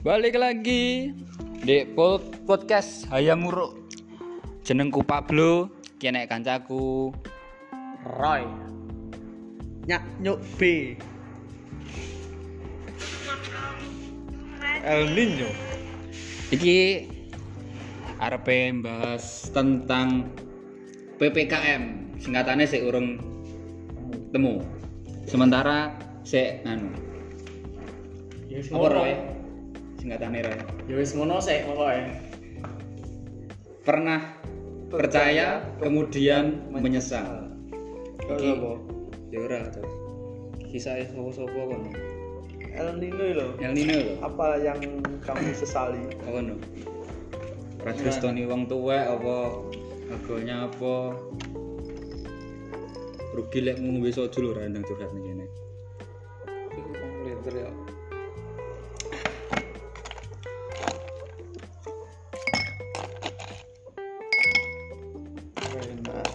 Balik lagi di po- podcast Hayam Muruk. Jenengku Pablo, kene kancaku. Roy Nyak nyuk B El Nino Iki arepe bahas tentang PPKM, singkatannya sik urung temu. Sementara sik anu, Ya wis apa ngono Roy? Singkatannya Roy. Ya wis ngono sik pokoke Pernah percaya kemudian menyesal. Iki. Apa? Ya ora, Cok. Kisah sapa-sapa kono. El Nino lho El Nino lho. Apa yang kamu sesali? apa no? Ora Kristoni wong tuwek apa agonya apa? Rugi lek ngono wis aja lho randang curhat ning kene. Enak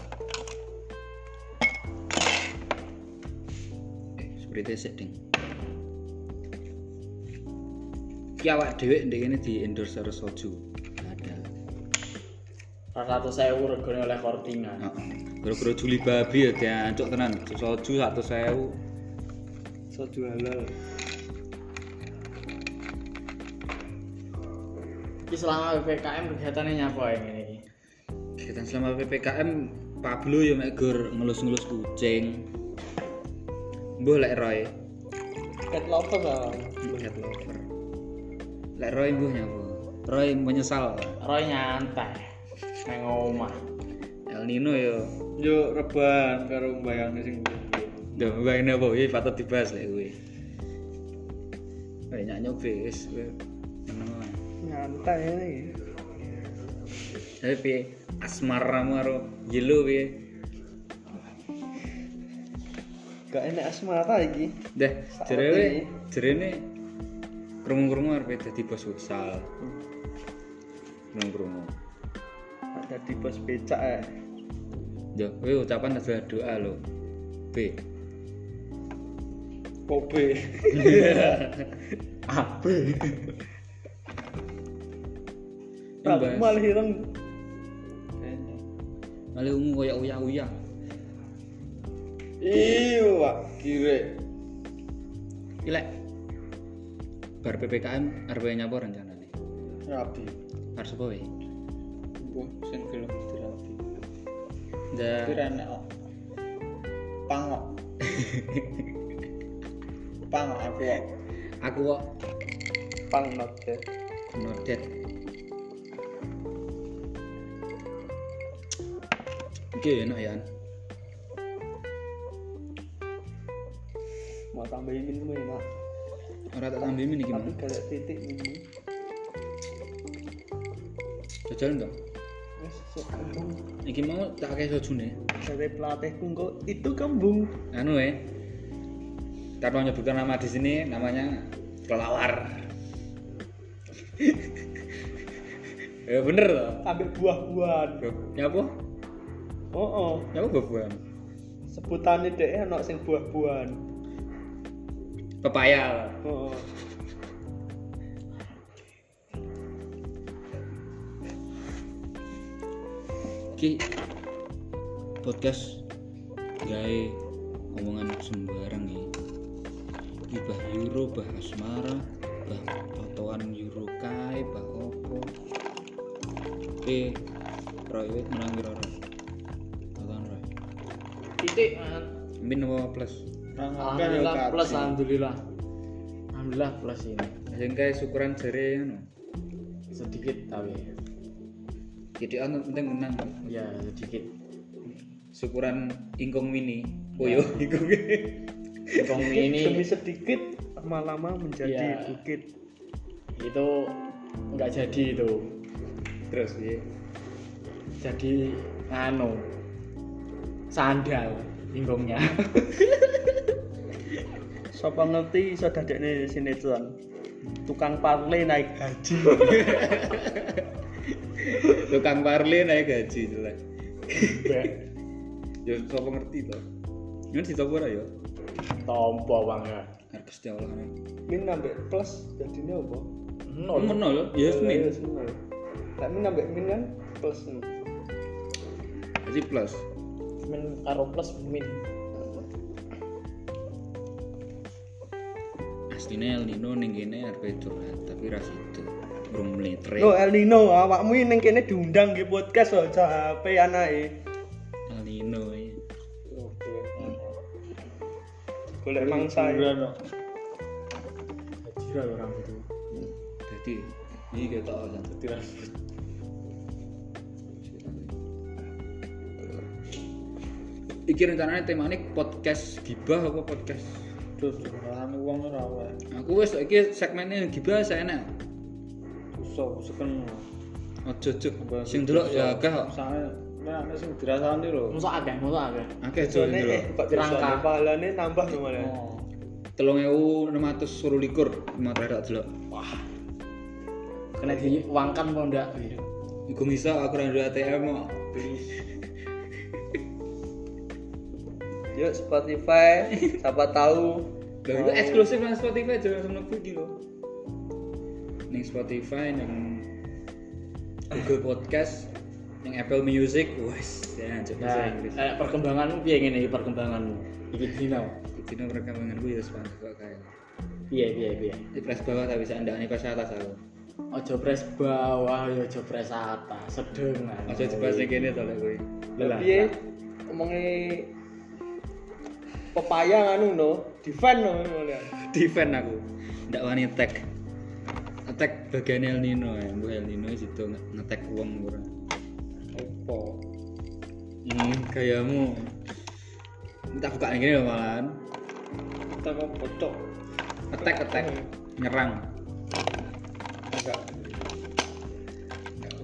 Sprite sik ding. Ki awak dhewe ndek kene di endorse karo soju. Ada. Rp 100.000 regane oleh kortingan Heeh. Gara-gara Juli babi ya diancuk tenan. Soju 100.000. Soju halal. Iki selama PPKM kegiatannya nyapa ya ngene iki? Kegiatan selama PPKM Pablo ya mek gur ngelus-ngelus kucing. Mbah lek Roy. Cat lover lah. Cat lover. Lek Roy mbuh nyapa? Roy menyesal. Roy nyantai nang omah. El Nino yo. Yo reban karo mbayangi sing Duh, gua ini apa? Ini patut dibahas lek gue. Kayak nyanyi wis kowe meneng wae. nyantai ini. Tapi piye asmaramu karo Yelo piye? Gak enak asmara iki. Dah, Saat ini. jerene jerene krungu-krungu arep dadi bos futsal. Hmm. Krungu-krungu. Ada di bos becak ya. Duh, kowe ucapan adalah doa lho. B. Kobe. Apa? Aku malah hilang. Malah ungu koyo uyah-uyah. Iyo, Iya, Pak. Kire. Ilek. Bar PPKM arep nyapa rencanane. Rapi. Harus apa we? Wah, sing gelem dirapi. Da enak kok. Pangok. Pangok aku kok. aku kok Pang ya. not deh. nodet. Oke, enak ya. Mau tambahin minum enak. Ora tak tambahi ini Tapi gimana? gak ada titik minum. Jajan dong. Wes sok kembung. Iki mau tak akeh sojune. Dari pelatihku kok itu kembung. Anu ya. Karena menyebutkan nama di sini namanya kelawar. ya bener ya toh. Ambil buah-buahan. Bab- Nyapa? Oh oh. Nyapa babuan? Sebutannya deh enak sing buah-buahan. Pepaya. Oh. oh. Ki podcast gawe omongan sembarang ya. Ki bah euro, bah asmara, bah totoan euro kae, bah opo. Eh, Roy wit menang kira Roy. Totoan Roy. Titik man. Min apa plus? Alhamdulillah plus alhamdulillah. Alhamdulillah plus ini. Sing kae syukuran jere ngono. Sedikit tapi Jadi anu penting menang. ya sedikit. Syukuran ingkung mini. Oh yo, ingkung. Kong ini demi sedikit lama-lama menjadi Iya. bukit itu nggak jadi itu. Terus piye? Jadi anu sandal inggongnya. Sapa ngerti iso dadekne sinetron tukang parle naik gaji Tukang parle naik gaji jelek. Be- ya sapa ngerti to ini ditopo ora ya Tompo ya. bangga. harus Gusti Allah nih min nambah plus jadinya apa nol Nomor nol ya yes, min. Eh, Yes, nol. Lek min ambek min kan plus nol. Jadi plus. min karo plus min Aslinya El Nino ning kene arep curhat, tapi ra sido. Burung meletre. Lo El Nino, ah, awakmu ini kene diundang di podcast loh, capek anake. El Nino. ya. oke Golek mangsa. ya. no haji orang itu Jadi iki ketok aja. tidak Iki rencananya temanya podcast gibah apa podcast? terus ngalami uang ora wae Aku wis iki segmennya gibah saya enak. susah seken Ojo ojo. Sing delok ya agak kok. misalnya nek sing dirasani lho Musuh agak, musuh agak. Akeh jo Soalnya eh delok. kok dirasani Rangka. pahalane nambah tuh malah. oh telung ewu enam ratus suruh likur mau tak delok Kena diuangkan mau ndak? iku bisa aku rendu ATM kok Yuk Spotify, siapa tahu Lah itu eksklusif nang Spotify aja langsung mlebu iki lho ning Spotify nang Google Podcast neng Apple Music wes ya coba Nah, saya Inggris eh, perkembanganmu piye ngene iki perkembanganmu? Iki dino. Dino perkembangan gue ya sepanjang kok kayak Piye piye piye. di press bawah tak bisa anda pas atas aku Ojo pres bawah, ya ojo pres atas, sedengan. aja coba sih gini tau lah gue Lah, piye omongi pepaya anu no, defend no malah. defend aku ndak wani tag attack bagian El Nino ya bu El Nino situ nge- ngetek uang murah opo hmm, gayamu tak buka ya, yang gini loh malahan kita kok pocok attack attack nyerang enggak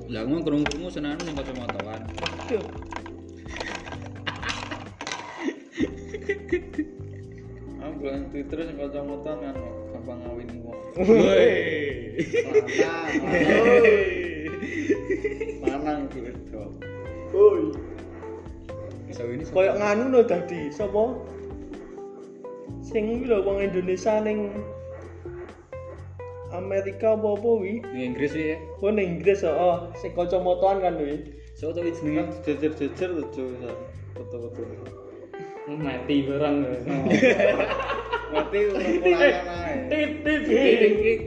lah mau kerungu kerungu senang nih kacamataan aku bulan Twitter sing kacamata kan kok gampang ngawin wong woi lanang itu itu Woi, so ini so- koyo nganu no tadi, sapa? Sing kuwi lho wong Indonesia ning Amerika apa apa wi? ini Inggris sih ya Oh ning Inggris oh, oh, sing kacamataan kan wi. so tau jenengan kan jejer-jejer tuh cuy San. foto-foto mati barang. ngerti orang pelayan aja Tit tit tit.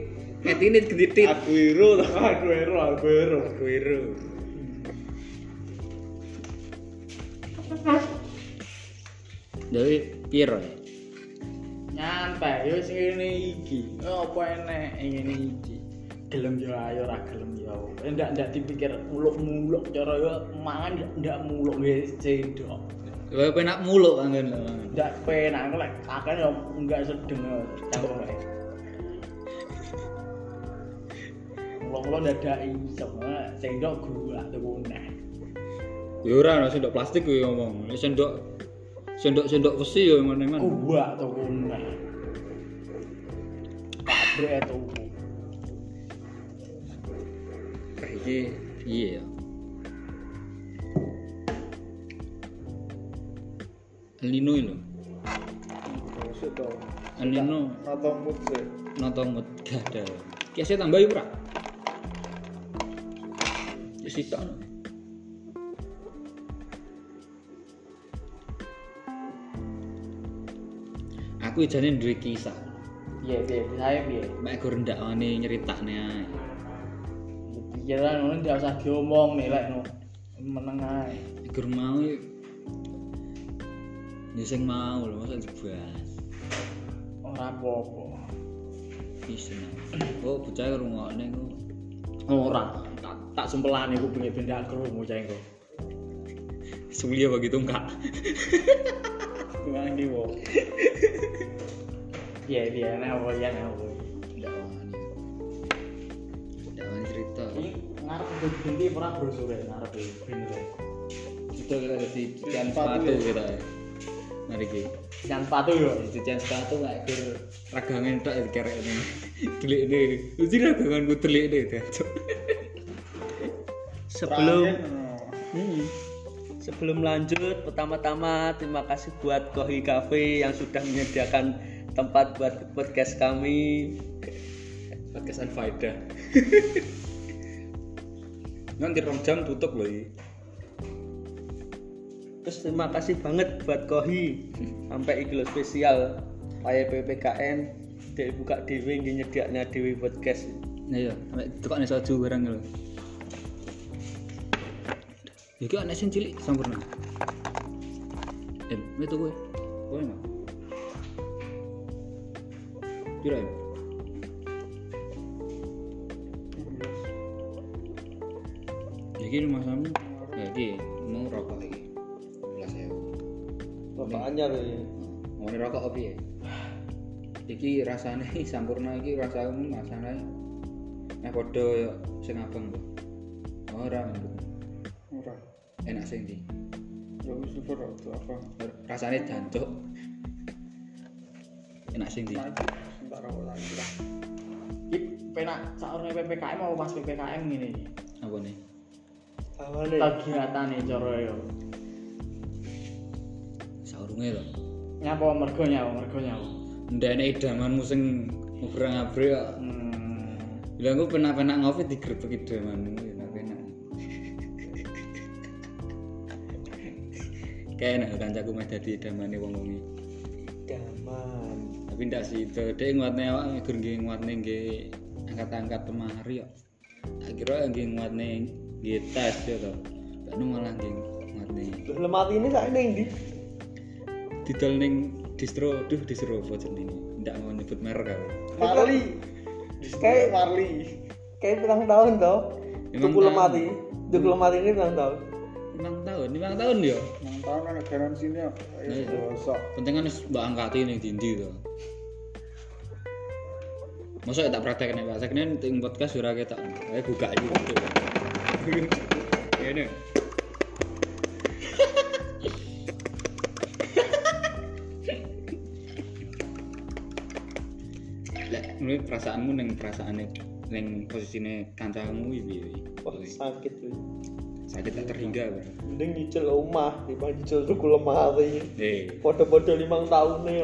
ngerti ini genditit Aguero tuh Aguero, Aguero. Guero Jadi piro ya? Nyantai, yo sing ngene iki. Oh, Apa enek ngene iki? Gelem yo ayo ora gelem yo. Ndak ndak dipikir muluk-muluk cara yo mangan ndak ndak muluk wis cedok. Wah, penak mulu kangen lah. Ndak penak aku lek akan yo enggak sedeng yo. Campur lek. Muluk-muluk dadak iso. eh, Sendok gua tuku neh. Ya ora ana sendok plastik kuwi ngomong. Ini Sendok sendok sendok besi ya mana-mana. Gua tuku neh. Pabrik tuku. Iki piye ya? El Nino lho. Buset tau El Nino Atau mood sih nonton mut gada. Kiasnya tambah yuk ora? Ya sitok. no. Aku ijane duwe kisah. Iya, iya, saya piye? Mek aku rendakane nyeritakne ae. pikiran ngono ndak usah diomong nih lek no meneng ae Gur mau ya ya sing mau lho masa dibahas. ora apa-apa Bisa. Oh, bocah rungokne ku. ora tak tak sumpelane ku bengi bendak krungu cah engko Sulia begitu enggak. Gimana nih wong iya iya nek apa ya nek apa Ndak wani. Hmm? Ndak wani cerita. iki ngarep bengi ora brosure ngarep bener Itu kita jadi cucian sepatu Sepatu ya. kita. Mari ki. jan sepatu yo Cucian sepatu nggak gur ragangan tok ya kerek ini. Delik ini. Uji ragangan gue delik ini. Cok. Sebelum Terakhir, no. Sebelum lanjut, pertama-tama terima kasih buat Kohi Cafe yang sudah menyediakan tempat buat podcast kami. podcastan faedah nanti rong jam tutup loh ini Terus terima kasih banget buat Kohi sampai iglo spesial kayak PPKN dia buka dewe dia nyediaknya dewe podcast iya sampai tukang nih soju barang loh Iki anak sing cilik sampurna. Em, itu gue. Gue mah. Piro em? Iki rumah samu. Ya iki mau rokok iki. 11.000. Bapak Anyar ya. Mau rokok apa ya? Iki rasane sampurna iki rasane rasane. Nah padha yo sing abang kok. Ora menurutku. Murah. Enak sing ndi? Ya wis super itu apa? rasanya jancuk enak sing di Maju. Sebentar aku lagi lah. Iki penak saurne PPKM mau pas PPKM ngene iki. apa nih Awalnya Kegiatane cara yo. saurunge to Nyapa mergo nyawa mergo nyawa. ndane idamanmu sing ngobrol ngabrik kok Hmm. bilang gue penak-penak ngopi digrebek idamanmu ya, enak-enak kayak enak kancaku mah dadi idamane wong wong Daman tapi ndak sih itu dia nguatnya awak ngegur nggih nguatne nggih angkat-angkat temari kok tak kira nggih nguatne nggih tes ya to tak malah nggih nguatne Loh, Lemari ini saya ini didol ning distro duh distro apa jenenge ndak mau nyebut merek aku Marli Kayak Marli Kayak bilang tahun toh Emang Tuku tahun. lemari Tuku lemari ini bilang tahun limang tahun limang tahun ya Yang tahun ada garansi nih. Ya Iya. besok. penting kan wis mbak angkati ning dindi to masa tak praktek nih praktek nih ting podcast ora ketok ayo buka iki Ya, ngene Lek, menurut perasaanmu neng perasaannya neng posisine kancamu iki piye? Wah sakit wih. sakit tak terhingga bro Mending nyicil rumah Dibanding nyicil tuku lemari eh Podo-podo limang tahun nih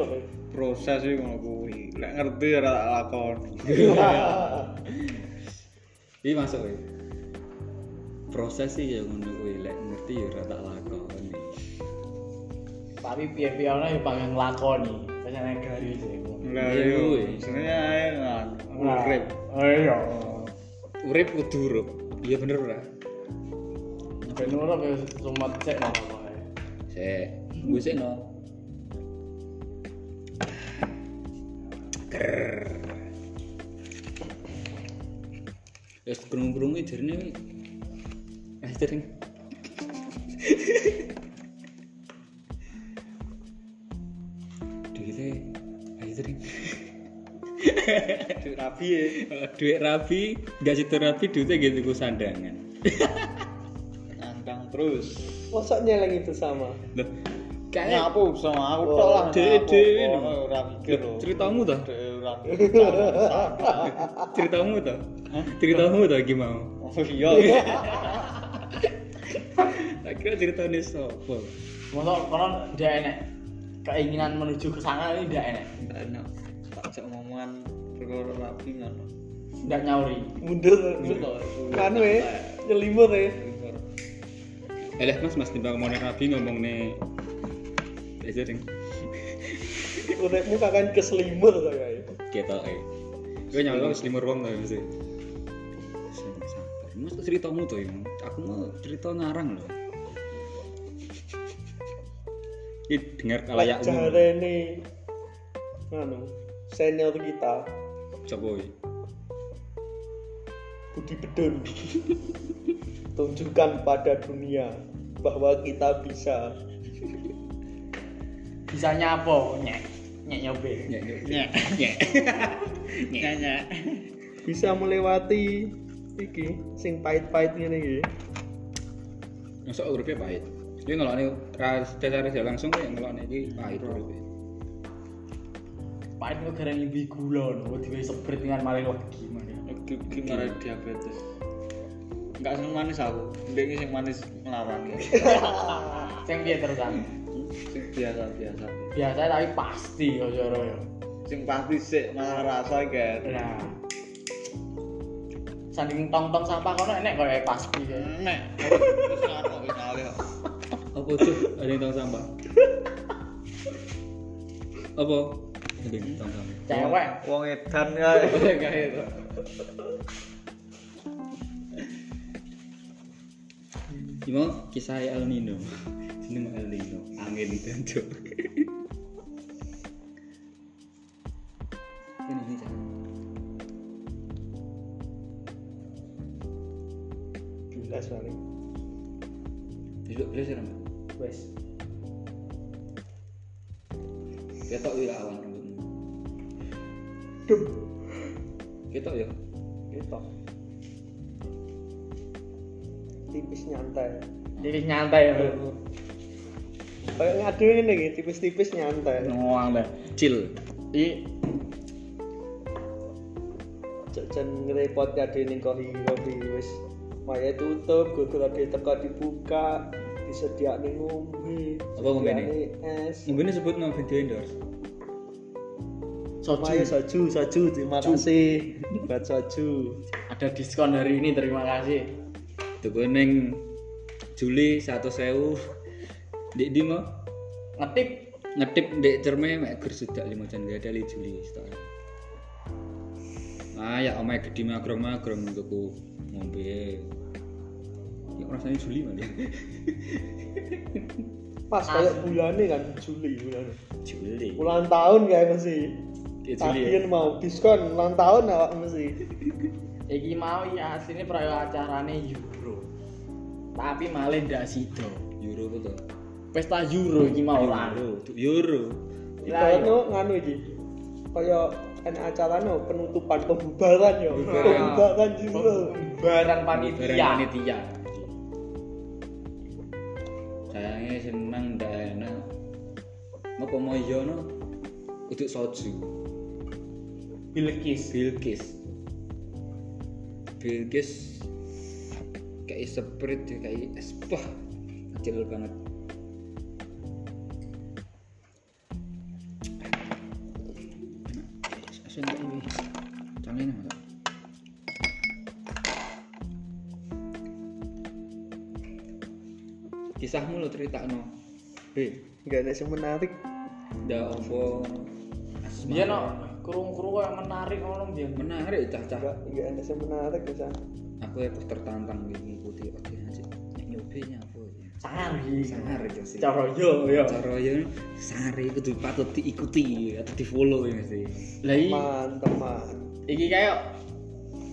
Proses sih ngono kuwi. Lek ngerti ora tak lakon. Iya, ini masuk ya proses sih ya ngono kuwi lek ngerti ya ora tak lakoni Tapi piye-piye ana yo pengen nglakoni. Biasane garis iku. Lah Iya, yo. kuwi. Sebenarnya ae kan. Urip. Ayo. urip kudu urip iya bener ora Ben ora yo sumet cek ngono wae. sik gue sik no Wes kerung-kerunge jernih eh jering duitnya ayo jering Duit rapi ya. Eh, duit rapi gak situ rapi duitnya gitu gue sandangan Nandang terus. Masa nyeleng itu sama loh kayaknya Nyapu sama aku tok lah. Dewe- nyapu. dewe lho. Oh, Ora mikir lho. ceritamu tuh Dewe ora mikir. ceritamu tuh ceritamu tuh gimana Oh iya. tak kira ceritanya sopo Masa kono ndak enek keinginan menuju ke sana ini ndak enek. Nggak enak tak ajak ngomongan perkara rapi ngono Ndak nyauri. Mundur Mundur. Kan weh Nyelimur ya eleh Eh, mas mas timbang mau rapi ngomong nih eh jering Uripmu akan keselimur kayaknya kita eh gue nyolong selimur wong tuh mesti mas ceritamu tuh yang aku mau cerita ngarang loh ini dengar kalayak umum Jarene anu senior kita coba iya. woy. Budi Bedun tunjukkan pada dunia bahwa kita bisa Bisa nyapo nyek. Nyek nyobe. Nyek, nyek. nyek nyek nyek nyek bisa melewati iki sing pahit-pahit ngene iki Masuk uripnya pahit. Dia ngelaknya secara tidak ya langsung kayak ngelaknya ini pahit uripnya. Pahit kok gara ngimpi gula no. Diwe seprit dengan maling legi mana. gimana diabetes nggak seneng manis aku dia ini sing manis melawan ya Sing piye terusan? sing biasa biasa Biasa tapi pasti yo yo yo. sing pasti sih malah rasa kan Nah, Sanding tong-tong sampah kono enek koyo pasti ya. kayak. Nek. Wis karo wis ale kok. Apa tuh? Ada yang tong sampah. Apa? Ada yang tong sampah. Cewek. Wong edan ya. Enggak Oh, itu. Gimana kisah El Nino? Jeneng El Nino, angin tentu. Ini ini Cak. Jelas paling. Duduk dulu sih Rama. Wes. Ketok ya awan rambutmu. Ketok ya. Ketok. Tipis nyantai. Jadi nyantai ya. Kayak ngadu ini gitu, tipis-tipis nyantai. Ngomong deh. Chill. I Jajan ngerepot ya di ning kopi kopi wis. Maya tutup, google ada teka dibuka, disediakne ngombe. Apa ngombene? disediakne Es. Mungkin disebut no video endorse. soju Maya soju, soju terima kasih buat soju. ada diskon hari ini terima kasih. Tuku ning Juli 100.000. Ndek ndi mau? Ngetip oh. ngetip dek cerme mek ger sedak lima jan gak ada li Juli stok. Nah ya omek gede magrong-magrong tuku ngombe. Ya rasanya Juli malah. Pas kayak bulannya kan Juli bulannya. Juli. Ulang tahun kayak mesti. Ya Juli. ya. Tagihan mau diskon ulang tahun awak mesti. iki mau ya asline proyo acarane euro. Tapi malah ndak sido. Euro apa to? Pesta euro iki Oh, mau ora. Euro. Tuh, Euro. Lah, Ibaratnya nganu iki. Kaya ana acara no penutupan pembubaran yo. Pembubaran juga. Barang Barang panitia. panitia. Sayangnya senang ndak enak. Apa mau iya no? Uduk soju. Bilkis. Bilkis Bilkis kayak sprite ya, kayak es bah kecil banget Asin tak ini canggih nih mata kisahmu lo cerita no B Enggak ada yang menarik. da opo Iya, Biyen no, kurung-kurung koyo menarik ngono biyen. menarik cah-cah Enggak enggak ada yang menarik bisa. aku ya pas tertantang mengikuti oke aja nek nyobe nyapo ya Sangar iki. sangar itu sih Cara yo yo. cara ya sare kudu patut diikuti atau di follow ya mesti Lah iki Teman, teman. iki kayak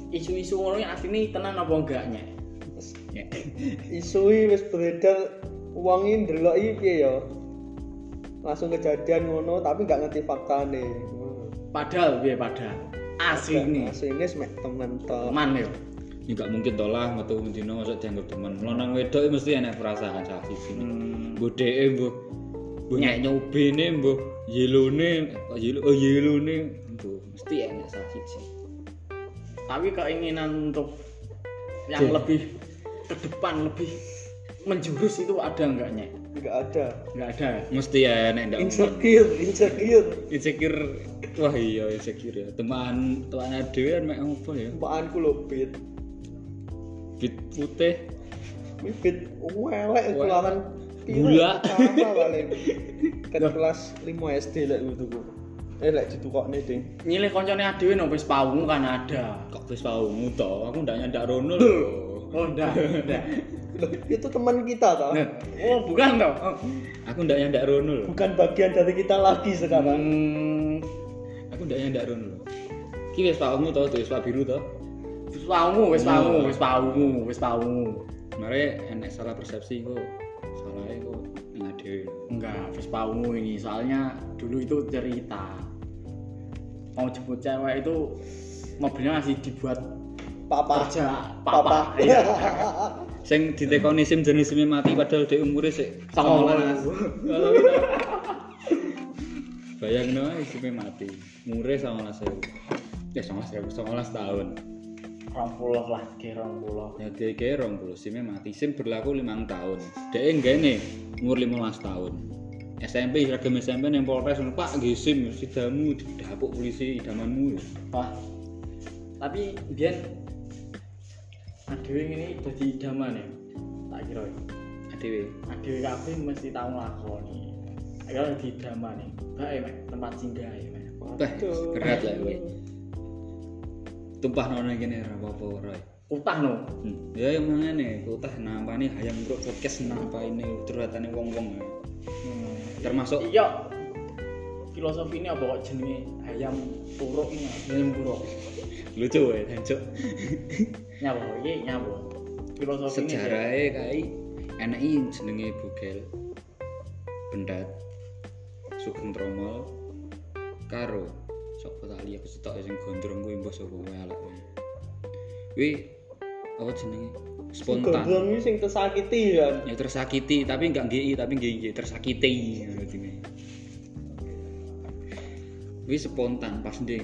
isu-isu ngono yang asline tenan apa enggaknya? ya Isui wis beredar uang ini delok iki piye yo. Langsung kejadian ngono tapi enggak ngerti faktane. Padahal piye padahal. Asline Asline mek temen to. teman yo. ya gak mungkin tolah metu mendino masuk dianggap teman lanang wedok ya mesti enak perasaan salah sisi mbok dheke mbok mbok Hmm. Nyek. nek nyobene mbok yelone kok yelo oh yelone mbok mesti enak salah sisi Tapi keinginan untuk yang Oke. lebih ke depan lebih menjurus itu ada enggaknya? Enggak ada. Enggak ada. mesti enak ndak mungkin Insecure, insecure. insecure wah iya insecure ya teman teman dhewe kan mek ngopo ya Tempaanku lho bit. bit putih Bibit welek keluaran Gula. Sama paling. Ket kelas 5 SD lek itu ku. Eh lek ditukokne ding. Nyilih koncone adewe no wis paungu kan ada. kok wis paumu to aku ndak nyandak rono lho Oh, ndak, ndak. Loh, itu teman kita toh. Nah, Oh, bukan toh. aku ndak nyandak rono lho Bukan bagian dari kita lagi sekarang. Hmm, aku ndak nyandak rono lho iki wis paumu to tuh wis pak biru to wis paungu, wis paungu, wis paungu, wis paungu. mare enek salah persepsi kok salahnya kok nang dhewe Enggak, wis paungu ini. Soalnya dulu itu cerita. Mau jemput cewek itu mobilnya masih dibuat Papa. kerja Papa. papa. Iya. sing ditekoni sim jenis sime mati padahal dhek umure sik Sama songolas. bayangno ae sime mati umure Eh, 19.000 ya 19.000 19 tahun Rong puluh lah, ki rong puluh. ya dhek 20 sime mati sim berlaku 5 tahun dhek nggene umur 15 tahun SMP seragam SMP yang Polres ngono, Pak nggih sim sidamu didapuk polisi idamanmu Wah. Tapi biyen adewe ngene dadi idaman ya. Tak kira. ya. Adewe. Adewe kabeh mesti tau nglakoni. Ayo dadi idaman ya. Bae Mek, tempat singgah ya Mek. Bah, berat lah kowe. Tumpah nono kene ora apa-apa ora. Utah no. Hmm. Ya yang mana nih, kutah nampani hayam bro podcast nampaine curhatannya wong-wong. ya. Termasuk Iya. Filosofi ini apa kok jenenge ayam buruk ini? Ayam buruk. lucu ya, hancur. Nyawa iki nyawa. Filosofi ini ya. Sejarahnya kai enak ini jenenge Bugel. Bendat. Sugeng Tromol. Karo. Sopo tali aku setok sing gondrong kuwi mbah sapa wae elek kuwi. Kuwi apa jenenge? Spontan. Gondrong ini sing tersakiti kan. ya tersakiti tapi nggak GI tapi GI tersakiti artinya wi spontan pas deh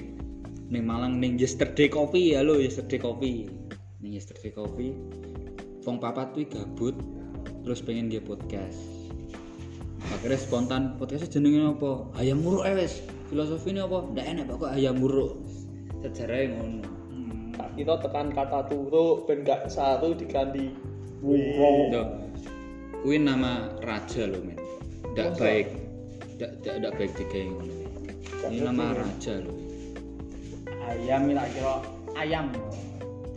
neng Malang neng yesterday kopi ya lo yesterday kopi neng yesterday kopi wong papat wi gabut terus pengen dia podcast akhirnya spontan podcastnya jenengin apa ayam muruk eh wes filosofi ini apa ndak enak pokok ayam muruk sejarahnya ngono Hmm. Tak kira Nah, tekan kata turu ben gak saru diganti Tuh. Kuwi nama raja lo men. Ndak baik. Ndak ndak ndak baik tiga yang ngono. Ini nama raja lo. Ayam ini tak kira ayam.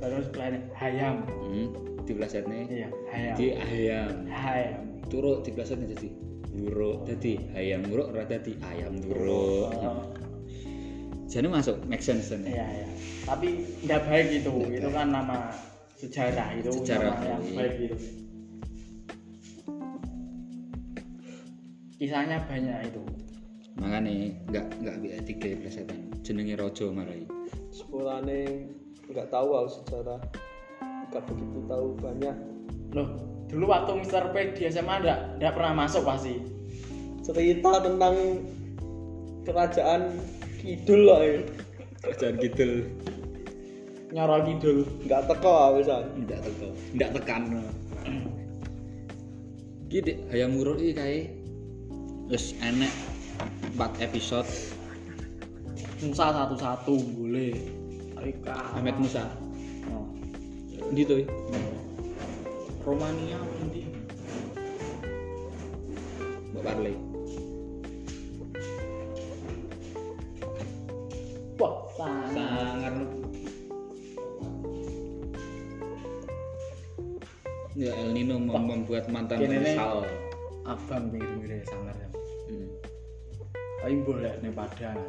Baru sebelahnya ayam. Hmm. Di belasetnya Iya, ayam. di ayam. Ayam. Turuk di belasetnya jadi buruk. Jadi ayam buruk ora dadi ayam turuk. Oh. Jadi masuk make sense nih. Iya, iya. Tapi tidak baik itu. itu kan nama sejarah itu Sejarah. nama yang baik gitu. itu. Kisahnya banyak itu. Makanya nggak nggak bisa tiga belasetan. Jenenge rojo marai. sepurane nggak tahu aku sejarah. Gak begitu tahu banyak. Loh, dulu waktu Mr. P di SMA enggak, enggak pernah masuk pasti. Cerita tentang kerajaan Kidul lah ya. Kerjaan gitu. Nyorol kidul. Nggak teko aku san. Ndak teko, ndak tekan. Ki dek hayam ngurut iki kae. Wis enek 4 episode Musa satu-satu boleh. Tapi kalah. Ahmed Musa. Oh. Ndi to? Romania nanti. Mbok Parley. Wah, sangat. Sangar. Ya El Nino mem- membuat mantan Kene nih. menyesal. Abang pinggir-pinggirnya sangar ya. Hmm. Tapi boleh nih padang.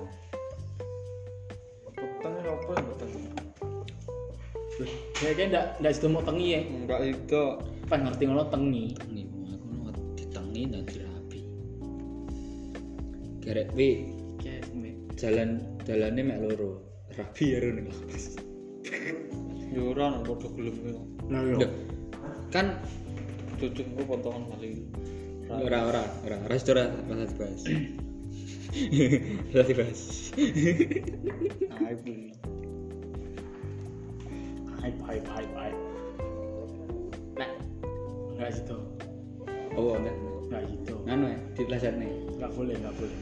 petang apa ya petang Loh, kayaknya enggak enggak sido mau tengi ya. enggak itu Pas ngerti ngono tengi. Ini wong aku nang ditengi dan dirapi. Gerek wi Kayak semit. jalan jalannya mek loro. Rapi ya ro ning lapas. yuran bodoh gelem yo Nah, Loh, kan cucungku potongan kali ora ora ora ora sudah ora ora dibahas ora dibahas aib ini. Aib, aib, aib, aib. Nah, nggak gitu, oh enggak nggak gitu, nganu ya di pelajaran nih nggak boleh, nggak boleh.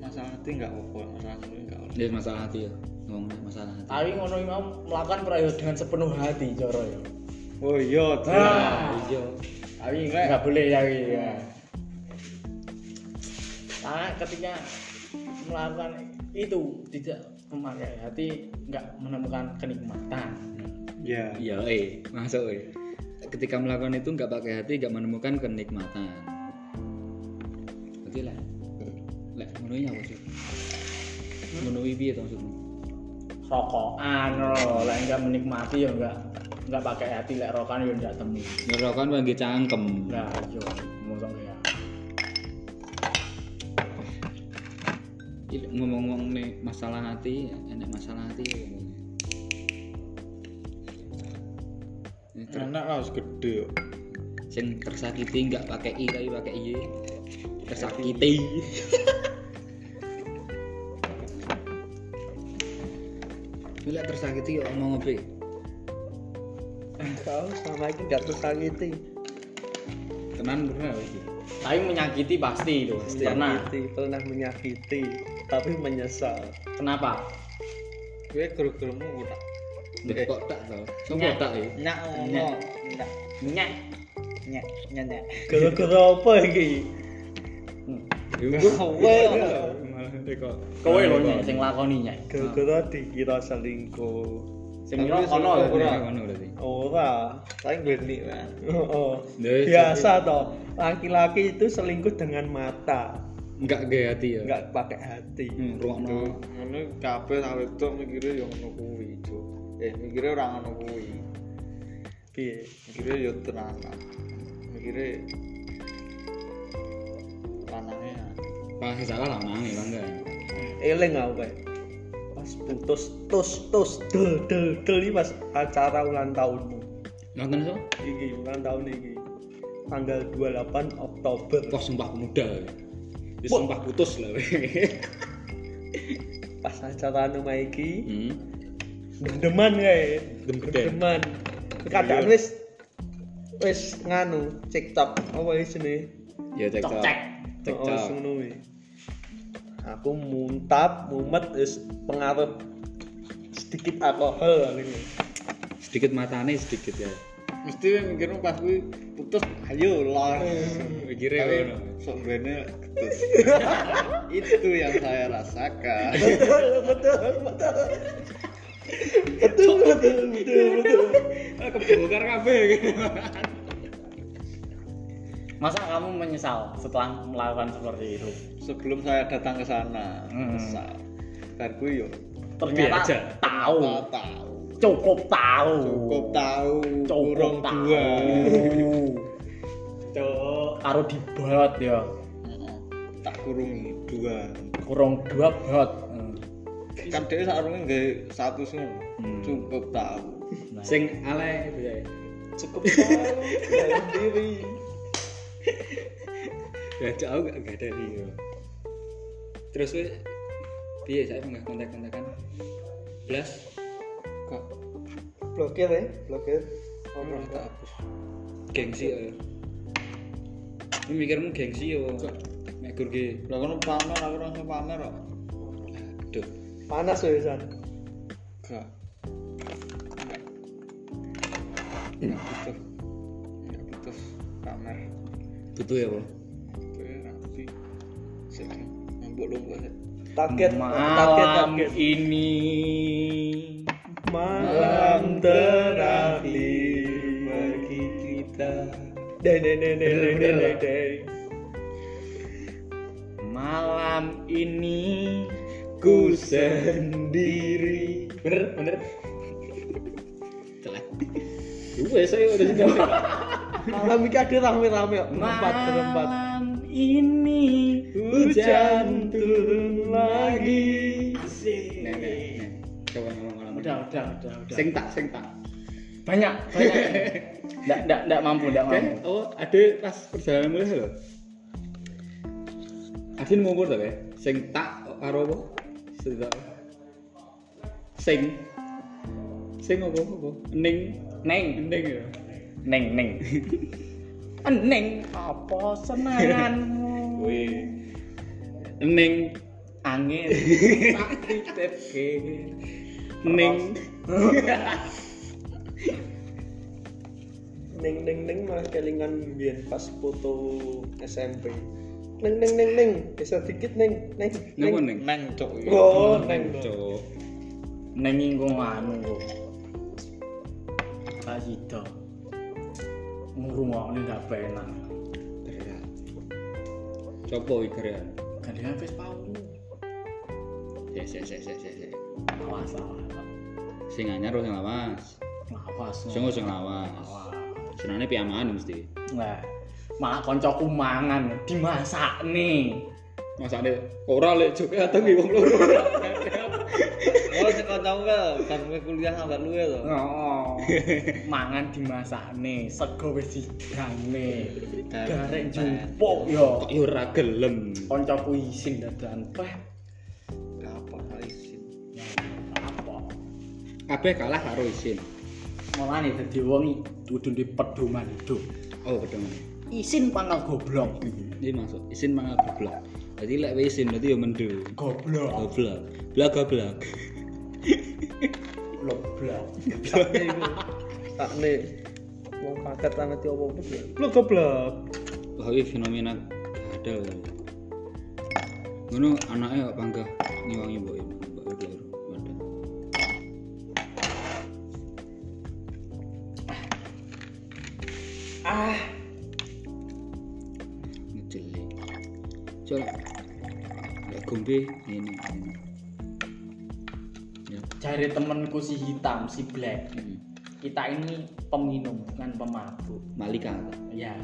masalah hati enggak apa masalah hati enggak apa dia masalah hati ya ngomongnya masalah hati Tapi ngono imam melakukan perayaan dengan sepenuh hati, coro ya. oh iya Ah, iya tapi nggak boleh ya, iya. Karena ketika melakukan itu tidak memakai hati, nggak menemukan kenikmatan. ya iya eh masuk eh ketika melakukan itu nggak pakai hati nggak menemukan kenikmatan oke lah lah menunya apa sih menuhi piye to maksudnya Rokokan, loh, lah oh, nggak menikmati ya nggak nggak pakai hati, lek rokokan ya nggak temu. ngerokan panggil kan cangkem Nah, yo, ngomong ya. Ini ngomong-ngomong nih masalah hati enak masalah hati ya ngomongnya. Ini ter- enak lah harus gede yo sing tersakiti nggak pakai i tapi pakai y tersakiti Bila tersakiti ya ngomong apa? Kau selama ini nggak tersakiti. Tenan pernah ya, lagi. tapi menyakiti pasti itu pernah menyakiti, pernah menyakiti tapi menyesal kenapa Gue guru-gurumu udah Loh, kok tak tau Sopo tak ya nyak ngono, nyak oh, minyak nyak nyak nyak. gara-gara apa iki Kowe kowe lho nyek sing lakoni nyek gara-gara dikira selingkuh sing kira kono lho. Iya, ngono berarti ora Saing glenik kan. Oh, Lha, iya. biasa toh laki-laki itu selingkuh dengan mata enggak gaya hati Iya. ya nggak pakai hati Hmm, ruangno. Ngono kabeh tak wedok mikire yo ngono kuwi, Cuk. Eh, mikire ora ngono kuwi. Piye? Mikire yo tenanan. Mikire lanange ya. Pak salah lah mang ya bangga. eling aku kayak pas putus tus tus del del del ini pas acara ulang tahun Nonton so? iki ulang tahun iki tanggal 28 Oktober Wah sumpah pemuda. Ya Wah. sumpah putus lah. weh. pas acara nama iki Hmm. gendeman kayak Dem gede. gendeman keadaan wis wis nganu TikTok apa isine Ya cek Cok, cok. cek. Cek Oh, cok. sing ngono kuwi. aku muntap mumet wis pengaruh sedikit alkohol ini Sedikit matane sedikit ya. Mesti weh mikirmu pas kuwi putus ayo lah. Hmm. Mikire Tapi ngono. sok bene putus. Itu yang saya rasakan. betul betul betul betul Kebongkar kabeh. masa kamu menyesal setelah melakukan seperti itu sebelum saya datang ke sana Hmm. besar dan gue yo ternyata Biar aja. tahu tak tahu cukup tahu cukup tahu Cukup kurang tahu. dua Cuk, karo dibat ya Heeh. tak kurungi dua kurang dua bot kan dia sarungnya nggak satu sih Hmm. cukup tahu Nah, Sing ale itu ya. cukup tahu sendiri Ya cok aku gak ada dia. Terus weh piye saya enggak kontak-kontakan. Blas. kok blokir ya blokir orang tak hapus gengsi ya. Ini mikirmu gengsi ya. Mek gur ge. lah kan pamer aku langsung pamer kok Aduh. panas ya san gak Nggak. nggak butuh nggak butuh pamer Butuh ya, Bro. gue rapi sedih nembok lu gue target target malam target ini malam terakhir bagi kita deng deng deng deng deng deng deng deng. malam ini ku sendiri bener bener telat gue saya udah sini malam ini ada rame-rame kok berempat berempat malam ini hujan turun lagi nih nih nih coba ngomong ngomong udah udah udah udah sing tak sing tak banyak banyak ndak ndak ndak mampu ndak mampu Kayak, oh ada pas perjalanan mulai loh Adin ngumpul tak ya sing tak karo apa sing tak. sing sing apa apa ning neng ning ya neng neng Ah, neng apa senanganmu wih ning angin tak titipke ning neng neng neng malah kelingan biar pas foto SMP neng neng neng neng bisa dikit neng neng ngapa ning neng cok iki. oh neng iya. cok neng ingkung anu kok kasih ngurungokne ndak penak Gerean. Coba iya, iki gerean. gandengan wis pau Sik sik sik sik sik, sik. awas awas Sing anyar sing lawas. awas Sing sing lawas. awas Senane piyaman mesti. nah malah koncoku mangan dimasak nih Masane ora lek joke atau ki wong loro. Oh, sing kancamu kan kan kowe kuliah sampe luwe to. oh mangan dimasak nih sego wis digang nih garek jupuk yo Kok yo ora gelem. koncoku isin dadan peh Apa isin? Ya, apa Kabeh kalah karo isin. malah nih dadi wong kudu di pedoman hidup Oh, betul. isin pangkal goblok Ini masuk isin mangal goblok. Berarti lek wis isin berarti ya mendo. goblok Goblok. Blak goblok. goblok Sakne iku. Sakne. Wong kaget ra ngerti apa-apa. Lu goblok. Wah, ini fenomena gadal. Ngono anaknya kok panggah nyewangi mbok e. Mbok e keliru. Wadah. ah Ngejeli. Cok. Lek gombe ini. ini. Ya. cari temenku si hitam si black Hmm. kita ini peminum bukan pemabuk Malika. ya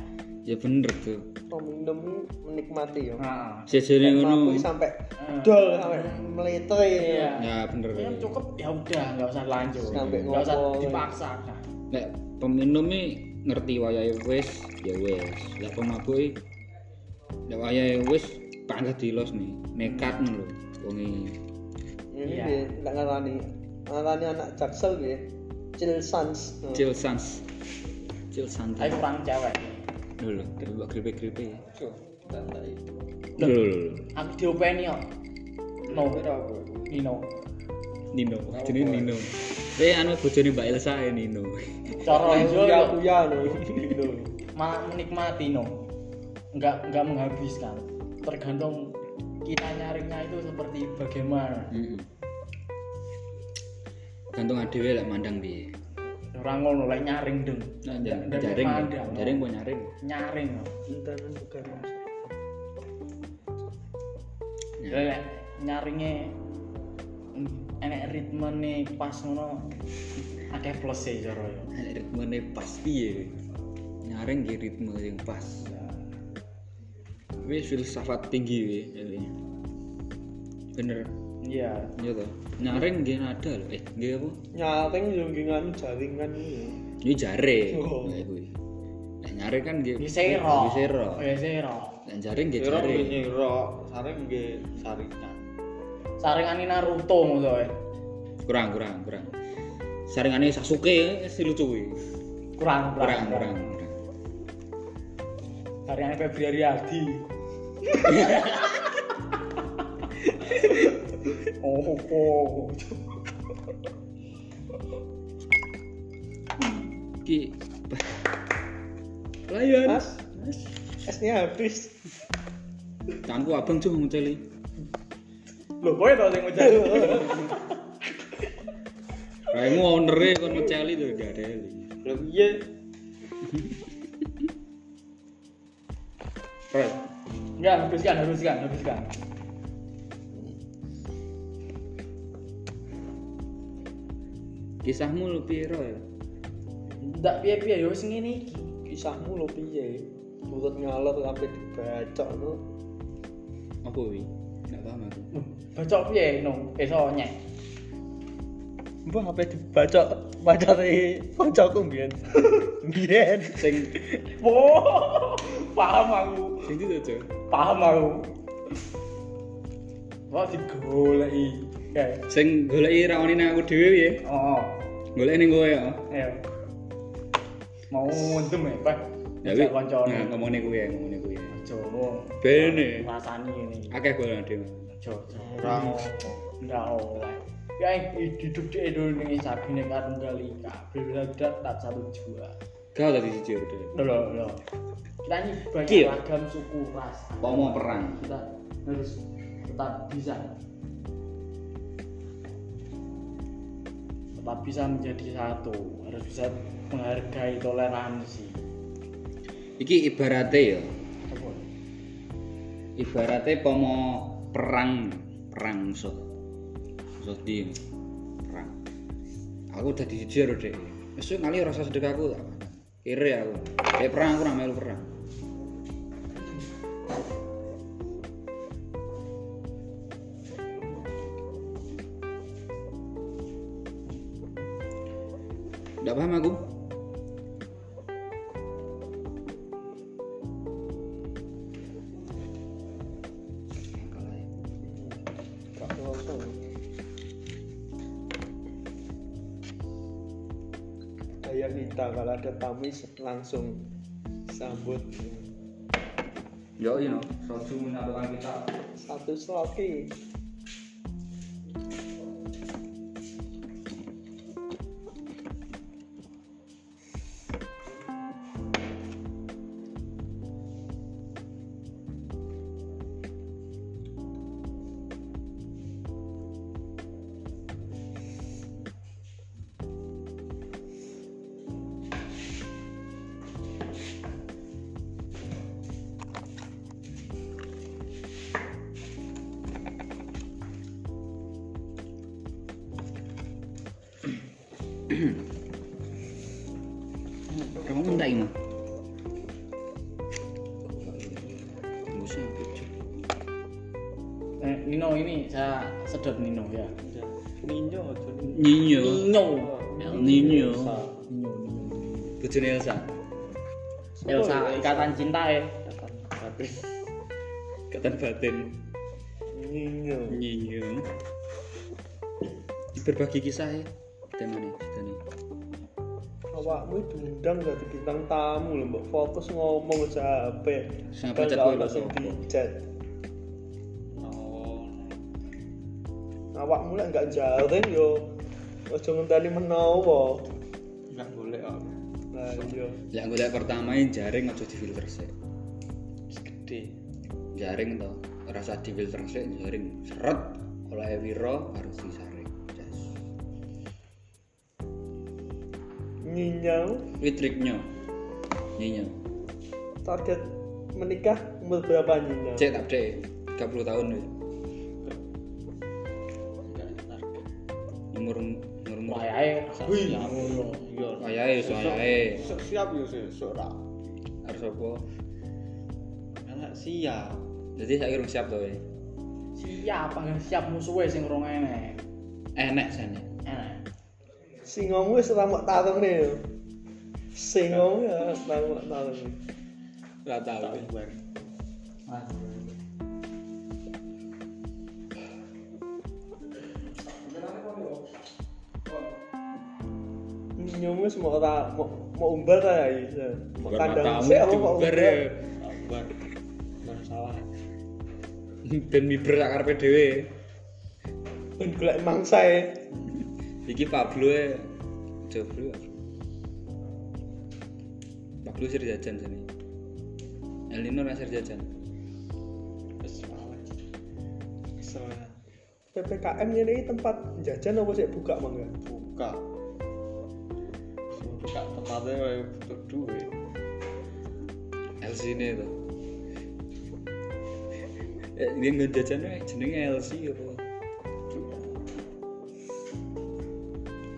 Ya bener tuh. minum menikmati ya. nah, Sejene ngono. Mampu sampai eh, dol sampai meleter iya ya. Ya bener. ya cukup ya udah nggak usah lanjut Sampai nggak usah ngomong. dipaksa nah. Lek peminum e ngerti wayahe wis, ya wis. Lek pemabuk e lek wayahe wis panggah dilos nih, nekat ngono lho. Wong e Ini Iya. dia nggak ngarani. Ngarani anak jaksel ya. Chill sans. Nah, chill sans. Chill tapi santai. kurang cewek Lho lho, mbok gripe-gripe. tuh, santai. Lho lho lho. aku diopeni kok no Nino Nino, jenenge Nino. Kuwi anu bojone Mbak Elsa ya Nino. cara Ayo, yo ya yo. aku ya lho. Gitu. malah menikmati no nggak nggak menghabiskan tergantung kita nyaringnya itu seperti bagaimana Heeh. Gantung adewe lek mandang piye. orang ngono lek nyaring deng Nah, jaring, Ndak- ndak jaring, mandang, no. jaring, po nyaring. nyaring no Entanan bukan maksud. Ya. lek nyaringnya mm, enek ritme nih pas ngono akeh plus e cara yo Nek ritmene pas piye nyaring nggih ritme yang pas wis filsafat tinggi wih ini. bener iya iya toh nyaring nggih nada lho eh nggih apa Nyaring yo nggih nganu jaringan iki. ini jare Oh. nah kuwi nah nyaring kan nggih disero nggih sero disero nah jaring nggih Kira jare nggih nyiro, saring nggih saringan. saringan ini Naruto ngono e kurang kurang kurang saringane Sasuke eh, si lucu kuwi kurang kurang kurang kurang kurang saringan Febri Ariadi oh oh ki Kan? layan Mas. Esnya habis. tanku abang cung ngeceli ya lho kowe tau sing ngucap Raimu ownernya kon ngeceli tuh gak ada eli. Lha iya, piye? Fred, Enggak, habiskan, habiskan, habiskan. kisahmu lu piro ya? Ndak piye-piye ya wis ngene iki. Kisahmu lho piye? Turut ngalor sampai dibacok lho. Apa wi? Gak paham aku. Loh, Bacok Hmm, piye no? Iso nyek. Mbah apa dibacok pacare kancaku mbiyen. Mbiyen sing Wow, paham aku. Sing itu cok. Paham aku. Wah, digoleki. Ya. Sing goleki rawani nang aku dhewe ya. Oh, Goleki ning kowe ya. ayo. Mau ngendem ya, Pak. Ya Ajak wi. Nah, kancane. ngomongnya kowe ya, ngomongnya kowe. ya. Aja ngomong. Bene. Rasani ini. Akeh golek dhewe. Aja. Ora ndak oleh. Ya hidup di Indonesia bineka tunggal ika. Berbeda tak satu jua. Kau tadi ya, jujur deh. Loh, loh. Kita ini banyak Kiyo. ragam suku ras. Kok mau perang? Kita harus tetap bisa. Tetap bisa menjadi satu. Harus bisa menghargai toleransi. Iki ibaratnya ya. Apa? Ibaratnya pomo perang, perang musuh. Musuh di perang. Aku tadi jujur deh. Besok kali rasa sedekahku tak apa. Kiri aku. Eh perang aku namanya melu perang. Nggak paham aku. Gak ngono. Daya kita kalau ada tamis langsung sambut Yo, you know, soju menaruhkan kita. satu sloki Kamu minta ini? Bosnya apa, Cuk? Eh, Nino ini saya sedot Nino ya. ninjo aja Ninyo. Nino. Ya. El Ninyo. Nino. Nino. Bojone Elsa. Elsa Ya, ikatan cinta ya. Ikatan batin. ninjo Nyinyo. Berbagi kisah ya. Tema nih, kita nih. awakmu diundang dari bintang tamu lho mbok fokus ngomong aja HP Sing Kan pecat gak kowe ono lho. sing dijat Oh, awakmu lek gak jaring yo aja ngenteni menawa nggak boleh om nah iya Lek golek pertama ini jaring aja difilter sik. segede Jaring to. Rasa difilter sik jaring. Seret oleh Wiro harus disaring. Jas. nyinyau Ini triknya. Nyinyo. target menikah umur berapa nyinyau Cek tak deh. 30 tahun wis. nggak target Umur umur umur. Wayahe. Wih, ya ngono. iya Wayahe, wis wayahe. Sok siap yo sih sok ra Harus apa? nggak siap Jadi saya urung siap to. eh? weh. Siap, panggil siap musuhe sing rong enek. Eh, Enak sana. Enek. singomu wis ora mok tarung nih yo. singomu ya ora mok tarung Ora tau. tak buang nyinyau wis mok ora mok mok umbar ta ya iya mok Bukan kandang matamu sik apa mok diumbar umbar ya. tak buang buang salah Ben miber sak karepe dhewe. ben golek mangsa e Iki Pablo e Joblo. Pablo sir jajan sini. Elino ra sir jajan. terus salah kesel ya. PPKM ini tempat jajan apa sih buka mangga buka buka tempatnya kayak butuh duit LC ini to. Eh, dia nggak jajan eh, jenenge LC apa?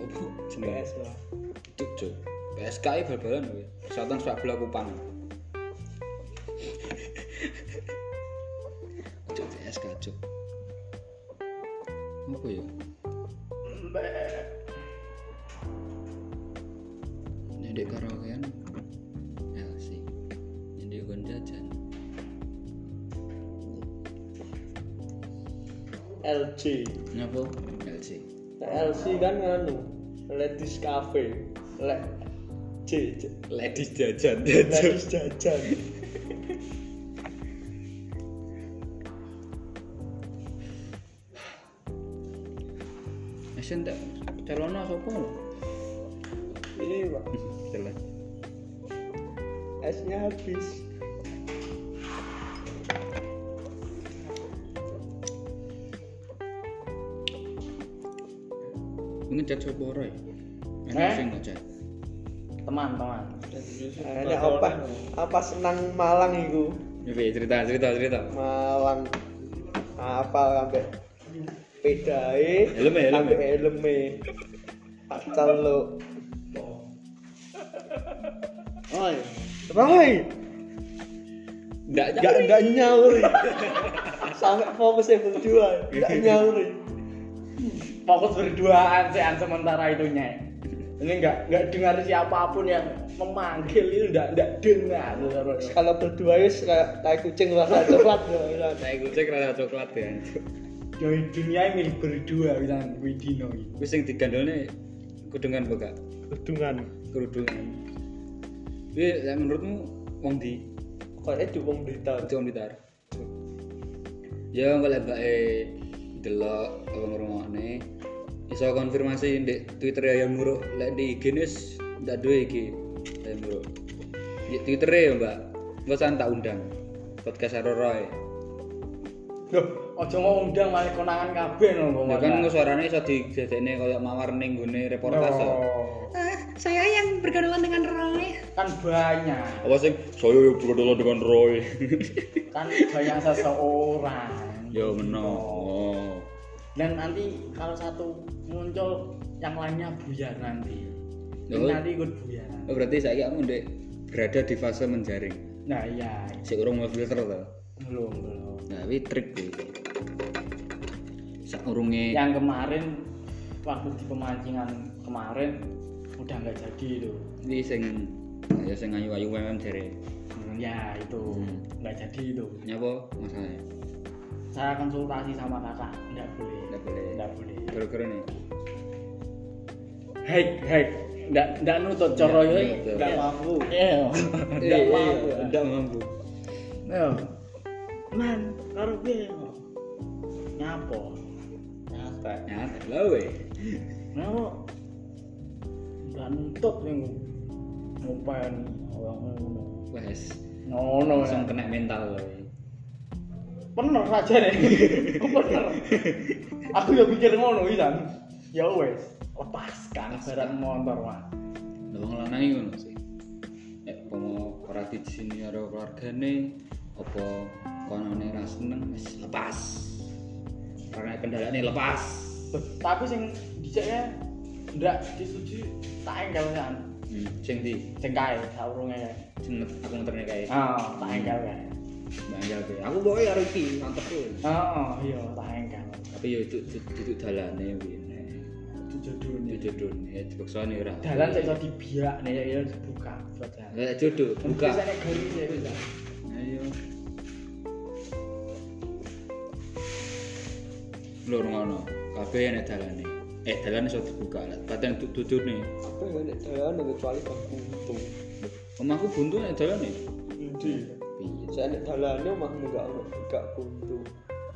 Apa jenenge? PS lah Cuk, cuk. PSKI bal-balan kowe. Persatuan sepak bola Kupang. Cuk PSK cuk. Apa ya? Jadi karaokean LC. Jadi gon jajan. LC Ngapa? LC. nah, LC kan nganu ladies cafe lek C, C. Ladies jajan ladies jajan Asen tak telono sapa lho? ini Pak, Telan. esnya habis Ngecat sapa ora ya? Eh? Enak sing ngecat. Teman-teman. Nah, Ini apa? Apa senang Malang itu? Oke, Iya, cerita cerita cerita. Malang. Nah, Apa sampai pedae? e. Helme, helme. Sampai helme. Pacal lo. oi Roy, Ndak nggak nggak nyauri. Sampai fokusnya e berdua, e. nggak nyauri. Fokus berduaan sih sementara itu nyek. Ini enggak enggak dengar siapapun yang memanggil itu enggak enggak dengar. Kalau berdua ya kayak tai kucing rasa coklat ya. Ilan. Saya gue cek rasa coklat ya. Jadi dunia ini milik berdua bisa Widino. ini. Gue sing digandolnya kudungan apa gak? Kedungan. Kerudungan. Wi, lek Iya, menurutmu wong di Kayaknya dukung berita. Itu Om Bitar. Ya golek bae delok apa ngrungokne. Iso konfirmasi di Twitter ya Muruk, lek di IG ini wis ndak duwe iki. Ya Muruk. Di Twitter ya, Mbak. Engko san tak undang. Podcast Aroro Roy. Loh, ojo mau undang malah konangan kabeh no Ya kan engko suarane iso digedekne koyo mawar ning gone ya. reportase. Eh, saya yang bergaulan dengan Roy. Kan banyak, Apa sing saya berdoa dengan Roy. kan banyak seseorang. gitu. ya meno. Oh. Dan nanti kalau satu muncul yang lainnya buyar nanti. Dan Loh. nanti ikut buyar. Oh, berarti saya kamu Dek, berada di fase menjaring. Nah, iya. Si urung mau filter to. Belum, belum. Nah, ini trik kuwi. Sak urunge yang kemarin waktu di pemancingan kemarin udah nggak jadi itu iki sing nah, ya sing ayu-ayu memang jare. ya itu Hmm. nggak jadi itu Nyapa masalahnya? saya konsultasi sama kakak nggak boleh Nggak boleh. nggak boleh Gara-gara nih. hek hek nggak nggak nutut coro Nggak ini nutut. Iya. nggak mampu nggak Eh, eh, mampu Ndak mampu. Yo. man karo piye yo? ngapo Ya, lho we. ngapo nggak nutut nih ngupain orang ngono Wes, ngono ya. langsung kena mental lho. bener aja nih bener aku ya pikir ngono isan ya wes lepaskan barang motor mah Lah wong lanang iki ngono sih. Nek pomo ora di sini karo keluargane apa konone ra seneng wis lepas. Karena kendalane lepas. Loh, tapi sing diceknya ndak disetujui tak engkel kan Hmm, sing di cengkai saurunge sing nget- aku nguterne kae. ah tak engkel kan Mbak Angel kuwi. Aku pokoke karo iki mantep kuwi. ah iya tak engkel Tapi yo itu itu dalane kuwi. itu Itu jodohnya jodone ya dipaksane ora. dalan cek iso dibiak nih ya ya dibuka buat jalan Lek jodoh buka. Bisa nek garis ya bisa. Ayo. Lur ngono. Kabeh ana dalane. Eh dalan iso dibuka lah. Paten dudune. Apa yang ada jalan kecuali bang buntu. Omahku buntu nek dalane. Buntu. Piye? Saya ada jalannya omahmu nggak ono nggak buntu.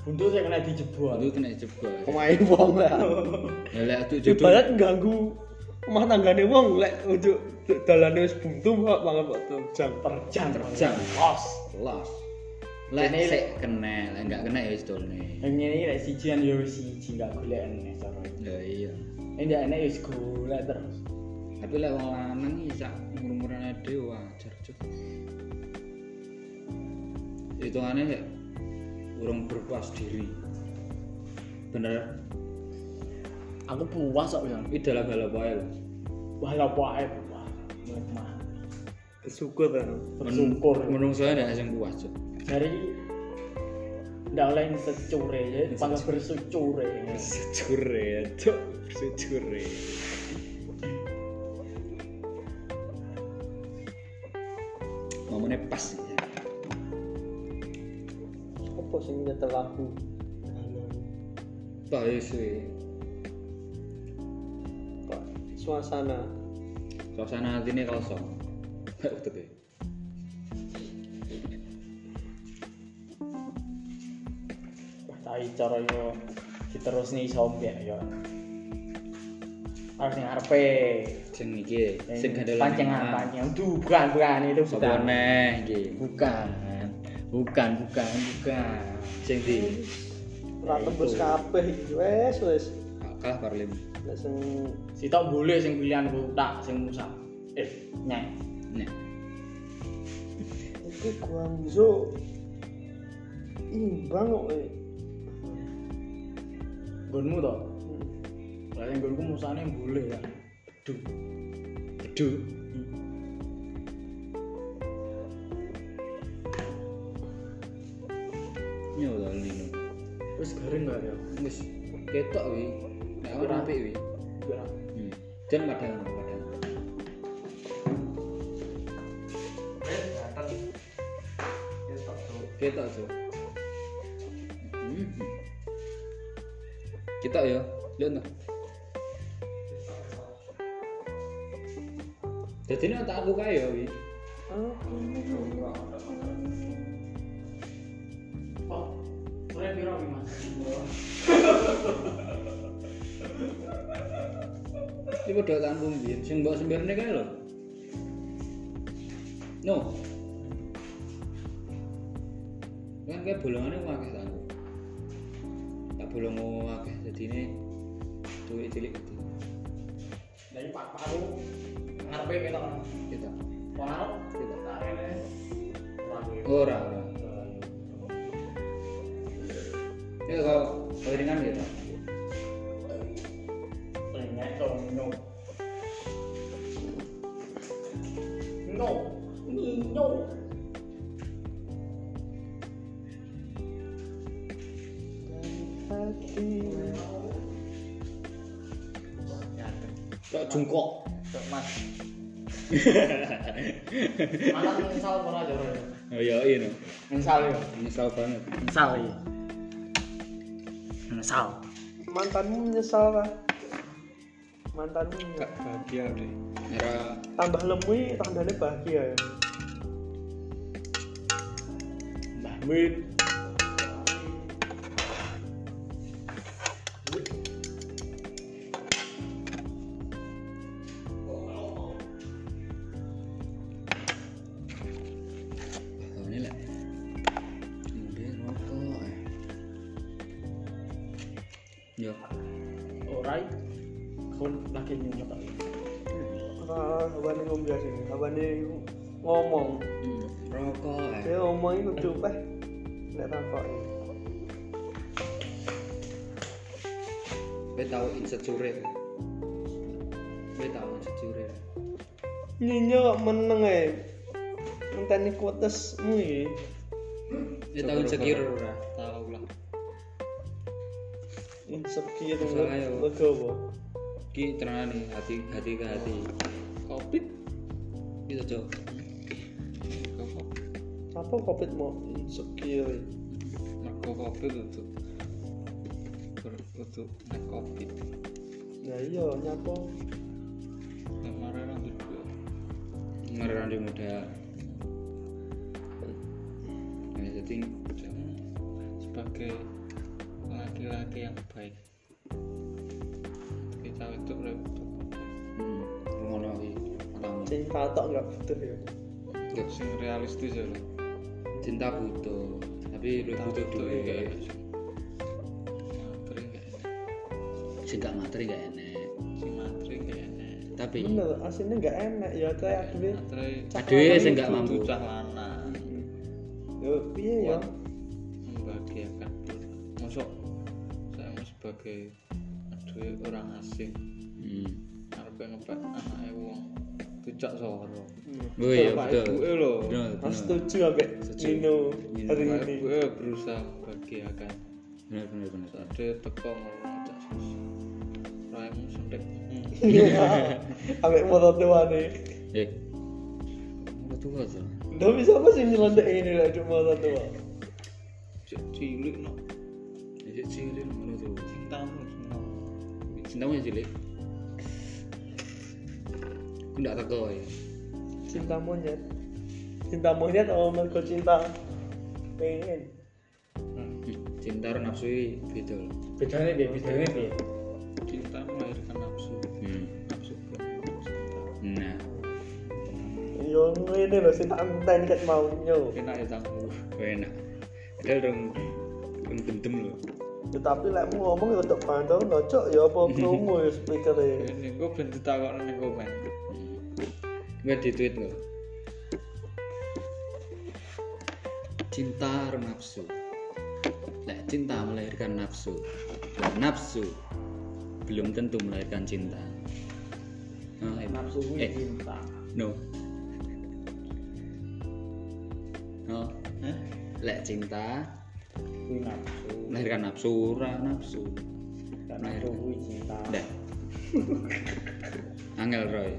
Buntu saya kena dijebol. Buntu kena jebol. Pemain wong lah. Ya lek atuk jodoh. Ibarat ganggu rumah tanggane wong lek untuk dalane wis buntu kok banget kok terjang. Terjang. Terjang. Los. Los. Lek Kene- sik kena, lek enggak kena ya wis dolne. Yang ini lek sijian yo siji gak goleken nek cara iki. Ya iya. Ini ndak enak yo golek terus. tapi lek wong lanang iki sak umur-umurane dhewe wajar cuk hitungane ya urung berpuas diri bener Aku puas kok yo. iki dalam hal apa ya lho? Walau wae puas. Nikmat. Syukur kan. Bersyukur. Men- menungso ndak sing puas cuk Dari ndak oleh secure ya, panggil bersyucure. secure e, cuk secure momennya pas ya Apa sing nyetel lagu? tak sih Kok Suasana. suasana hatinya kosong Betul ya? Wah, tai cara yo diterusne iso mbek yo. Harus yang arepe. sing iki sing Yang gandelan ah. Pancengan, pancengan. Duh, bukan, bukan itu sapa bukan. neh iki Bukan. Bukan, bukan, bukan. sing di Ora tembus kabeh iki wes wes. kalah parlim Lek sing Si tok boleh sing pilihanku tak sing musa. Eh, nyai. nek iki Guangzhou imbang kok eh. Gonmu to. Lah sing gonku musane boleh kan. Duh. bedu yo dal nino Wis garing gak ya? wis ketok wi nek ora apik wi Ora. hmm. dan padahal padahal ketok tuh Hmm. ketok ya lihat tuh jadi nek tak aku kaya wi Hmm. Aku iku dok tak mbiyen sing mbok sembirne kae lho. No. Kan kayak bolongane ku akeh tak. nggo. Tak bolong ku akeh dadine tuwek cilik gede. dari pak paru ngarepe kita Kita. pengaruh kita tak kene Ora ora. Ya kok kelingan ya. Tok? Pengen dong no no no Kok jongkok. Cok, mas malah menyesal pernah jero ya? Oh ya iya. no. menyesal ya Nyesal banget. menyesal ya menyesal mantanmu menyesal lah mantanmu menyesal. gak bahagia deh Era tambah lemui tandanya bahagia ya Mbah Wit. tahunnya lah. Kemudian rokok. eh. Yo. Alright. Kon lagi nyumet tak. Ah, apa nih ngomong biasa ini apa nih ngomong Rokok. eh. dia ngomong itu coba nggak tampak Gue tahu insecure. Gue tahu insecure. nyinyo meneng ya Enteni kuotesmu ya Gue tahu insecure ora. tau lah insecure Salah ya. legowo Ki tenan nih hati hati ke hati. covid Gitu cok. apa covid mau insecure mergo covid itu untuk naik covid nah iya nyapa kemarin lanjut dulu Ngeran di modal. Nah, jadi Kamu sebagai laki-laki yang baik kita itu repot hmm, ngono iki matamu. sing patok nggak butuh ya Gak sing realistis ya lah. cinta butuh tapi lu butuh Butuh duit ya. materi gak enak sing gak materi gak enak si materi gak enak tapi bener aslinya nggak enak ya kayak duit materi aduh sing gak butuh mampu cah lanang yo piye ya Kuat. membahagiakan masuk saya mau sebagai aduh orang asing hmm. arepe ngepek anake wong dijak soro Hmm. oh iya ya, Bapak betul ibuke lho betul Mas betul setuju ambek Setuju. Nino Nino, hari Bapak ini. ibuke berusaha membahagiakan benar benar benar ada teko ngono cak sus raimu sentik Ambek motor tua Iya. nih. eh udah tua aja Nggak bisa apa sih nyelondek ini lah cuma motor tua. cek cilik no jadi cilik ngono tuh cintamu no cintamu yang cilik aku ndak teko ya Cinta monyet. Cinta monyet oh mergo cinta pengen. Hmm. cinta karo nafsu iki beda lho Bedane piye? Bedane piye? cinta melahirkan nafsu hmm. nafsu melahirkan cinta nah Yo ini kan loh cinta enten ket mau nyo. enak ya tangku kok enak padahal dong dong gendem lho Ya, tapi lek mu ngomong ya untuk pandang cocok ya apa krungu ya speaker e. ini gue belum ditakok nih komen Gue di tweet lo. Cinta atau nafsu. Lah cinta melahirkan nafsu. Lah nafsu belum tentu melahirkan cinta. Nah, eh, Nafsu kuwi Eh. cinta. no. No. Hah? Lah cinta Kuwi nafsu. melahirkan nafsu, ora nafsu. Dan nafsu kuwi cinta. Dah. Angel Roy.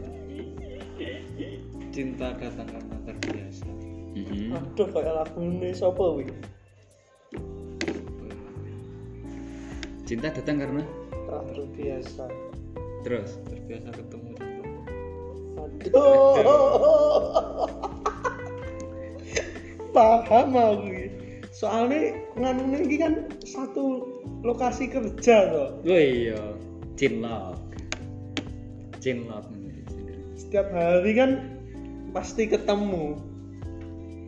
cinta datang karena terbiasa Mhm. Aduh kayak lagune sapa wi? Cinta datang karena Aduh biasa. terus terbiasa ketemu dengan Aduh. Paham aku. iki. Soalnya nganu ini kan satu lokasi kerja toh. Oh iya, cinlok. Cinlot. setiap hari kan pasti ketemu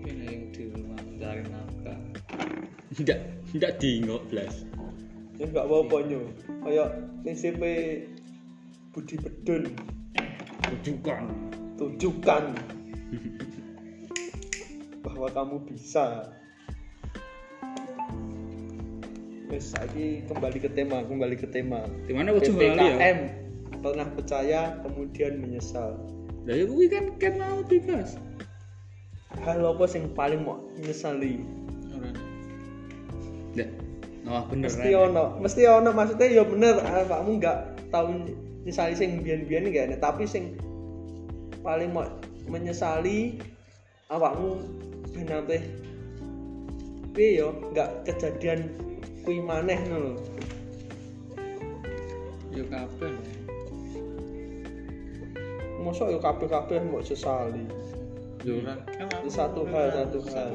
Mungkin ada yang di rumah mencari nafkah. Ndak ndak diingok blas. ya nggak apa-apa nyu kayak NCP Budi Bedun Rujukan. tunjukkan bahwa kamu bisa Wes, lagi kembali ke tema, kembali ke tema. Di mana wujud lali ya? PPKM pernah percaya kemudian menyesal. Lah ya kuwi kan kan mau bebas. Hal apa yang paling mau menyesali? Orang Ndak. Nah, bener. Mesti ono, mesti ono maksudnya ya bener awakmu nggak tahu nyesali sing biyen-biyen nggak enak, tapi sing paling mau menyesali awakmu ben nanti piye yo nggak kejadian kuwi maneh ngono lho. ya kabeh. lah. Mosok yo kabeh-kabeh mau sesali. Ya orang kan aku Satu hal, beneran satu susah. hal.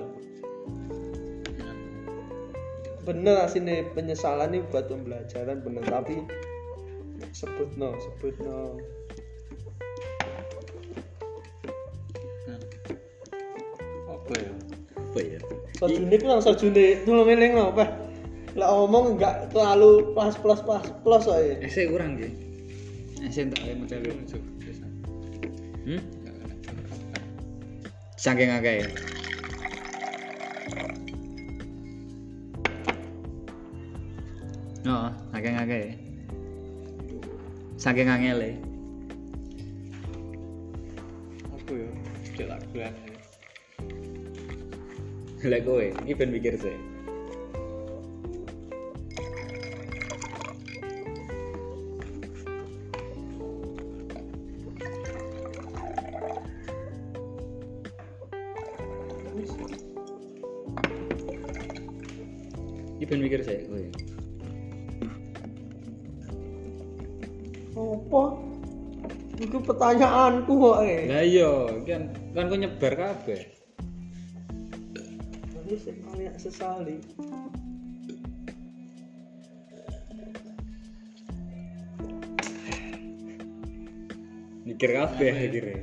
bener asine penyesalan ini buat pembelajaran bener tapi sebut no sebut no Nah. Apa ya? Apa ya? sojune ku nang sojune dulu meling no apa lah ngomong nggak terlalu plus plus plus plus aja Eh, saya kurang nggih. Eh, saya tak mau cari. Itu biasa. Hmm? Nggak enak. Saking akeh. ya? Oh, saking akeh. ya? Saking e. angele. Apa ya? Tidak tak bulan ya. Lek kowe, iki ben mikir sih. Iki ben mikir sih kowe. apa itu pertanyaanku kok eh Lah iya, kan kan kowe nyebar kabeh. ini sih paling sesali Mikir kabeh akhirnya.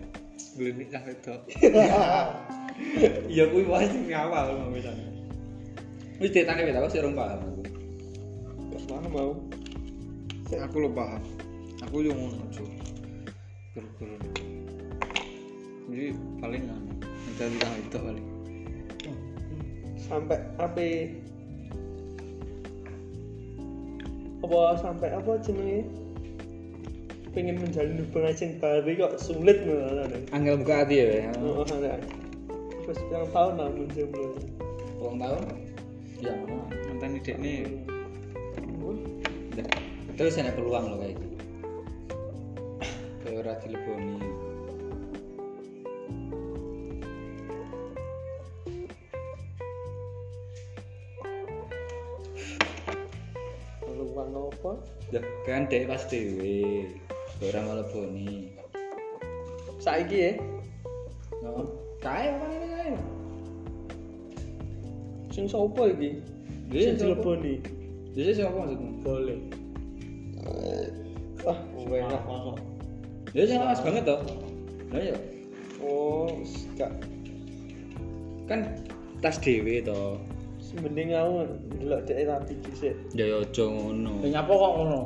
Belum nikah wedok. Ya kuwi pasti ngawal mau pisan. Wis ditane wis aku sih rung paham aku. gak paham mau aku lo paham aku yang ngono cuy guru-guru jadi paling anu mencari tahu itu paling sampai apa apa sampai apa jenenge pengen menjalin hubungan sing baru kok sulit ngono Angel buka hati ya. Be. Oh, ada. Terus yang tahu namun jomblo. Rong tahun. Ya, mana? mantan ide ini Hmm. Ndak. Terus ana peluang loh kayak gitu. Kayak ora dileboni. Peluang apa? Ya, kan dek pas dhewe. Kayak ora meleboni. Saiki ya. Nah, kae apa ini kae? Sing sapa iki? Iya, Sing dileboni. Jadi siapa maksudmu? Boleh. Ah, gue enak masuk. Jadi saya pas banget toh. Lah ya. Oh, wis gak Kan tas dhewe toh. mending aku ndelok dhek rapi dhisik. Ya ya aja ngono. nyapa kok ngono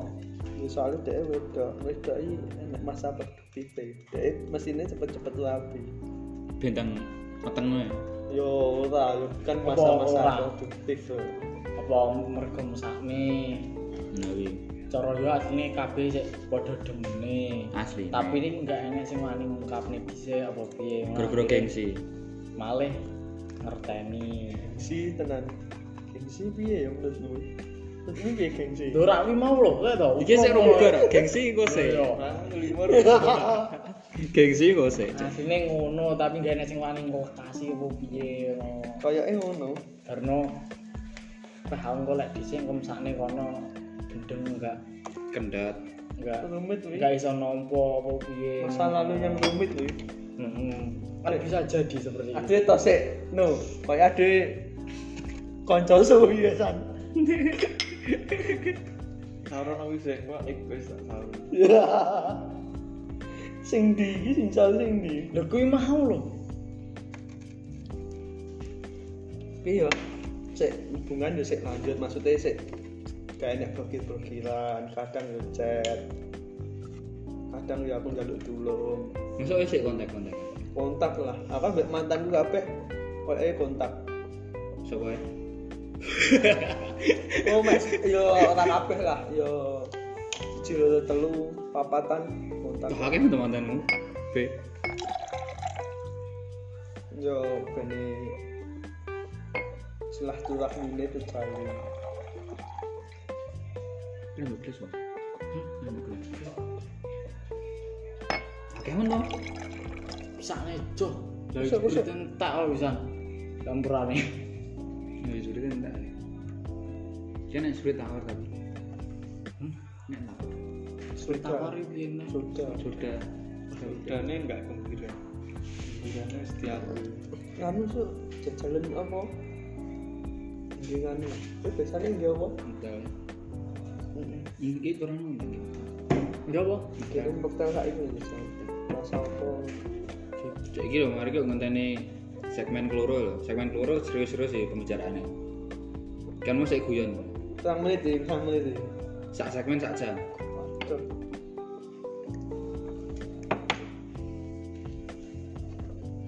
Ya soalnya dhek wedok, wedok iki enak masa produktife. Dhek mesinnya cepet-cepet rapi. Bentang petengmu ya. Yo ora, yo kan Apa ora? masa-masa produktif. lho. apa mergo mesakne Nah, kuwi. cara yo atine kabeh sik padha demene asli. tapi ini nggak enak sing wani ngungkapne bisa apa piye Malah gara-gara gengsi. malah ngerteni Gengsi tenan. Gengsi piye ya menurutmu? Menurutmu piye gengsi? lho rak kuwi mau lho kowe to Iki sik rong bubar, gengsi iku sik. Iya. Gengsi iku sik. asline ngono tapi nggak enak sing wani ngokasi apa piye ngono. Kayaknya eh, ngono. karena paham kok lek dhisik engko mesakne kono gendeng enggak Kendat. enggak rumit wih enggak iso nampa apa piye masa lalu yang rumit wih Mm-hmm. hmm. kan bisa jadi seperti itu ada tosek no kayak ada konco suwi ya san taruh nawi sih gua egois tak tahu Ya. sing di iki sing salah sing di Lho kuwi mau lho. Piye ya? Sik hubungan yo sik lanjut maksudnya sik gak enak berkil-berkilan, kadang yo chat. Kadang yo aku njaluk dulung, Masuk wis sik kontak-kontak. kontak lah. Apa mbek mantanku kabeh oleh kontak. Sopo ae? Oh, Mas, yo ora kabeh lah, yo cil telu papatan kontak. Tuh akeh teman-temanmu. B. Yo bene silaturahmi itu terlalu Kira mbok plus, Bang. Akeh men to. Pisane joh. Lah Bisa, itu bisa. tentak lho pisan. Lampurane. Ya wis urip entek. Kan nek sulit tawar tapi. Hmm? Nek tawar. sudah Tawari piye nek. sudah Sudah. Udane enggak gembira. Gembirane mesti aku. kamu Anu su jajalan apa dengan itu biasanya dia apa Sudah. Iki kurang ngene. Enggak apa? kirim bekal kayak itu bisa masa apa Cek iki lho, mari kita ngenteni segmen keloro lho. Segmen keloro serius-serius sih pembicaraannya. Kan mau saya guyon. Bang. sang menit ya sang menit ya Sak segmen sak jam. Waduh.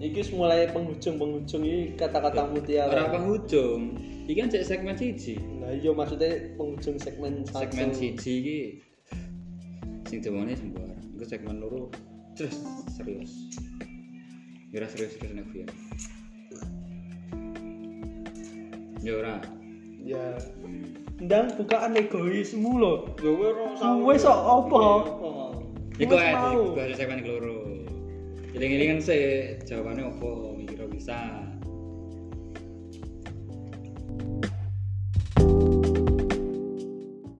Iki wis mulai penghujung penghujung ini kata-kata Iya. Ora mutiara. penghujung. Iki kan cek segmen siji. Nah iya maksudnya penghujung segmen satu. Segmen siji iki sing demone sembarang. Engko segmen loro terus serius. Ya ora serius serius nek guyon. Ya ora. Ya. Ndang bukaan egoismu loh. Lho kowe ora usah- Kowe sok apa? Iku Wes ae mau. iku ae segmen keloro. Eling-elingan sih jawabannya opo mikir bisa.